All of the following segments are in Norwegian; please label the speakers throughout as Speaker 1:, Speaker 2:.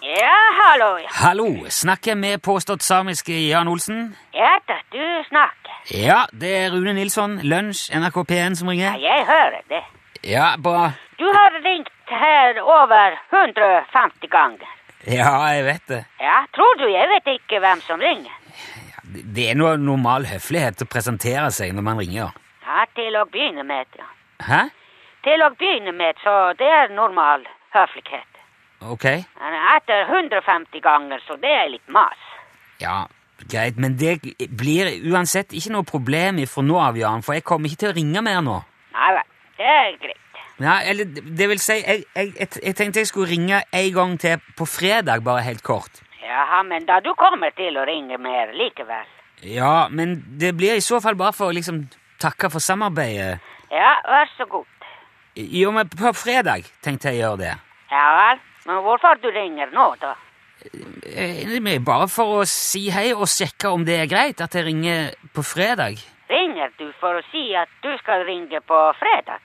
Speaker 1: Ja, hallo, ja.
Speaker 2: Hallo, snakker jeg med påstått samiske Jan Olsen?
Speaker 1: Ja da, du snakker.
Speaker 2: Ja, det er Rune Nilsson, Lunsj, NRK P1 som
Speaker 1: Ja,
Speaker 2: ringer.
Speaker 1: jeg hører det.
Speaker 2: Ja, bra.
Speaker 1: Du har ringt her over 150 ganger.
Speaker 2: Ja, jeg vet det.
Speaker 1: Ja, tror du jeg vet ikke hvem som ringer?
Speaker 2: Det er noe normal høflighet å presentere seg når man ringer.
Speaker 1: Ja, til å begynne med, ja.
Speaker 2: Hæ?
Speaker 1: Til å begynne med, så det er normal høflighet.
Speaker 2: Ok.
Speaker 1: Men Etter 150 ganger, så det er litt mas.
Speaker 2: Ja, greit, men det blir uansett ikke noe problem ifra nå av, Jan, for jeg kommer ikke til å ringe mer nå.
Speaker 1: Nei vel, det er greit.
Speaker 2: Ja, eller det vil si, jeg, jeg, jeg, jeg tenkte jeg skulle ringe en gang til på fredag, bare helt kort.
Speaker 1: Jaha, men da du kommer til å ringe mer likevel.
Speaker 2: Ja, men det blir i så fall bare for å liksom takke for samarbeidet.
Speaker 1: Ja, vær så god.
Speaker 2: Jo, men på fredag tenkte jeg å gjøre det.
Speaker 1: Ja vel, men hvorfor du ringer nå, da?
Speaker 2: Eh, men Bare for å si hei og sjekke om det er greit at jeg ringer på fredag.
Speaker 1: Ringer du for å si at du skal ringe på fredag?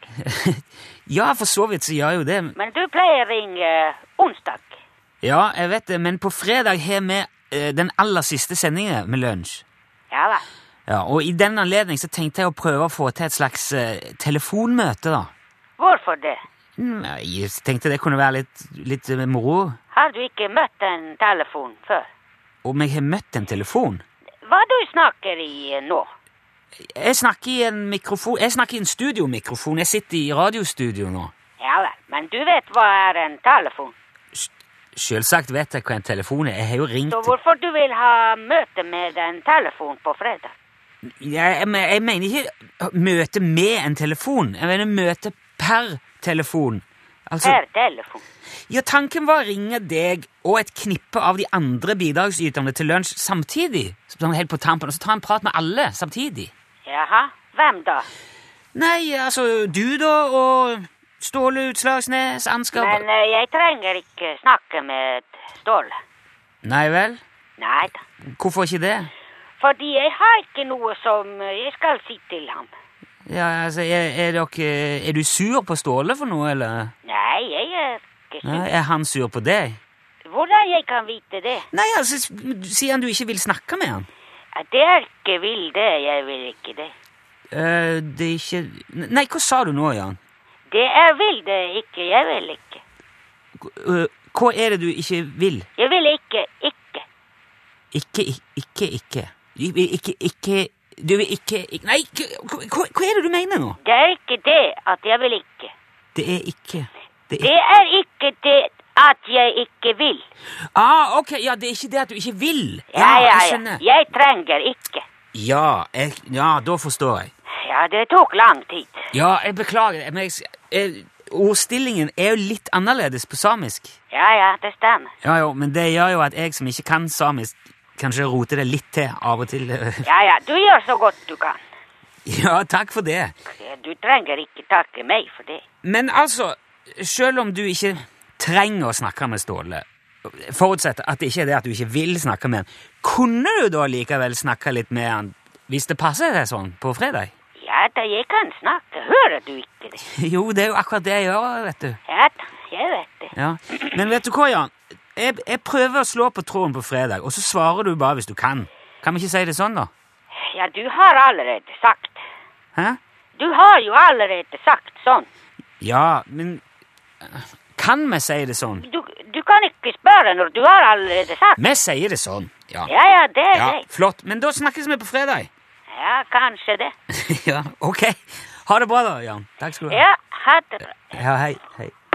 Speaker 2: ja, for så vidt så gjør jeg jo det.
Speaker 1: Men du pleier å ringe eh, onsdag.
Speaker 2: Ja, jeg vet det, men på fredag har vi eh, den aller siste sendingen med lunsj.
Speaker 1: Ja vel.
Speaker 2: Ja, og i den anledning så tenkte jeg å prøve å få til et slags eh, telefonmøte, da.
Speaker 1: Hvorfor det?
Speaker 2: Mm, Jeg tenkte det kunne være litt, litt eh, moro.
Speaker 1: Har du ikke møtt en telefon før?
Speaker 2: Om jeg har møtt en telefon?
Speaker 1: Hva du snakker i eh, nå?
Speaker 2: Jeg snakker i en mikrofon Jeg snakker i en studiomikrofon. Jeg sitter i radiostudio nå.
Speaker 1: Ja vel, men du vet hva er en telefon.
Speaker 2: Selvsagt vet jeg hva en telefon er. Jeg har jo ringt
Speaker 1: Så hvorfor du vil ha møte med en telefon på fredag?
Speaker 2: jeg, jeg, men- jeg mener ikke møte med en telefon. Jeg mener møte per telefon. Altså,
Speaker 1: Per telefon.
Speaker 2: ja, Tanken var å ringe deg og et knippe av de andre bidragsyterne til lunsj samtidig. Sånn helt på tampen, Og så ta en prat med alle samtidig.
Speaker 1: Jaha, hvem da?
Speaker 2: Nei, altså du, da, og Ståle Utslagsnes, Ansgar
Speaker 1: Men eh, jeg trenger ikke snakke med Ståle.
Speaker 2: Nei vel?
Speaker 1: Nei da.
Speaker 2: Hvorfor ikke det?
Speaker 1: Fordi jeg har ikke noe som eh, jeg skal si til ham.
Speaker 2: Ja, altså, er, er, dere, er du sur på Ståle for noe, eller?
Speaker 1: Nei, jeg er ikke
Speaker 2: Nei,
Speaker 1: sur.
Speaker 2: er han sur på deg?
Speaker 1: Hvordan jeg kan vite det?
Speaker 2: Nei, altså, s- sier han du ikke vil snakke med han?
Speaker 1: Eh, Det er ikke vil det, jeg vil ikke det.
Speaker 2: Eh, det er ikke... Nei, hva sa du nå, Jan?
Speaker 1: Det er vil det ikke, jeg vil ikke.
Speaker 2: Hva- eh, Hva er det du ikke vil?
Speaker 1: Jeg vil ikke, ikke.
Speaker 2: Ikke, ik- ikke, ikke. Du vil Ikke, ikke... Du vil ikke... ik- Nei, ikke- hva, hva- hva er det du mener nå?
Speaker 1: Det er ikke det at jeg vil ikke.
Speaker 2: Det er ikke... Det er...
Speaker 1: Det er ikke det at jeg ikke vil.
Speaker 2: Ah, ok, ja, det er ikke det at du ikke vil.
Speaker 1: Ja, ja,
Speaker 2: jeg
Speaker 1: ja.
Speaker 2: skjønner.
Speaker 1: Jeg trenger ikke.
Speaker 2: Ja, jeg, ja, da forstår jeg.
Speaker 1: Ja, det tok lang tid.
Speaker 2: Ja, jeg beklager, men jeg, jeg, ordstillingen er jo litt annerledes på samisk.
Speaker 1: Ja, ja, det stemmer.
Speaker 2: Ja, jo, men det gjør jo at jeg som ikke kan samisk, kanskje roter det litt til av og til.
Speaker 1: Ja, ja, du gjør så godt du kan.
Speaker 2: Ja, takk for det.
Speaker 1: Du trenger ikke takke meg for det.
Speaker 2: Men altså, selv om du ikke trenger å snakke med Ståle, forutsett at det ikke er det at du ikke vil snakke med han, kunne du da likevel snakke litt med han hvis det passer deg sånn på fredag?
Speaker 1: Ja da, jeg kan snakke. Hører du ikke det?
Speaker 2: Jo, det er jo akkurat det jeg gjør, vet du.
Speaker 1: Ja da, jeg vet det.
Speaker 2: Ja. Men vet du hva, Jan? Jeg, jeg prøver å slå på tråden på fredag, og så svarer du bare hvis du kan. Kan vi ikke si det sånn, da?
Speaker 1: Ja, du har allerede sagt.
Speaker 2: Hæ?
Speaker 1: Du har jo allerede sagt sånn.
Speaker 2: Ja, men eh, Kan vi si det sånn?
Speaker 1: Du, du kan ikke spørre når du har allerede sagt.
Speaker 2: Vi sier det sånn. Ja.
Speaker 1: Ja, ja, det er
Speaker 2: ja.
Speaker 1: greit.
Speaker 2: Flott. Men da snakkes vi på fredag.
Speaker 1: Ja, kanskje det.
Speaker 2: ja, ok. Ha det bra, da, Jan. Takk skal du ha.
Speaker 1: Ja, ha det bra.
Speaker 2: Ja, hei. hei.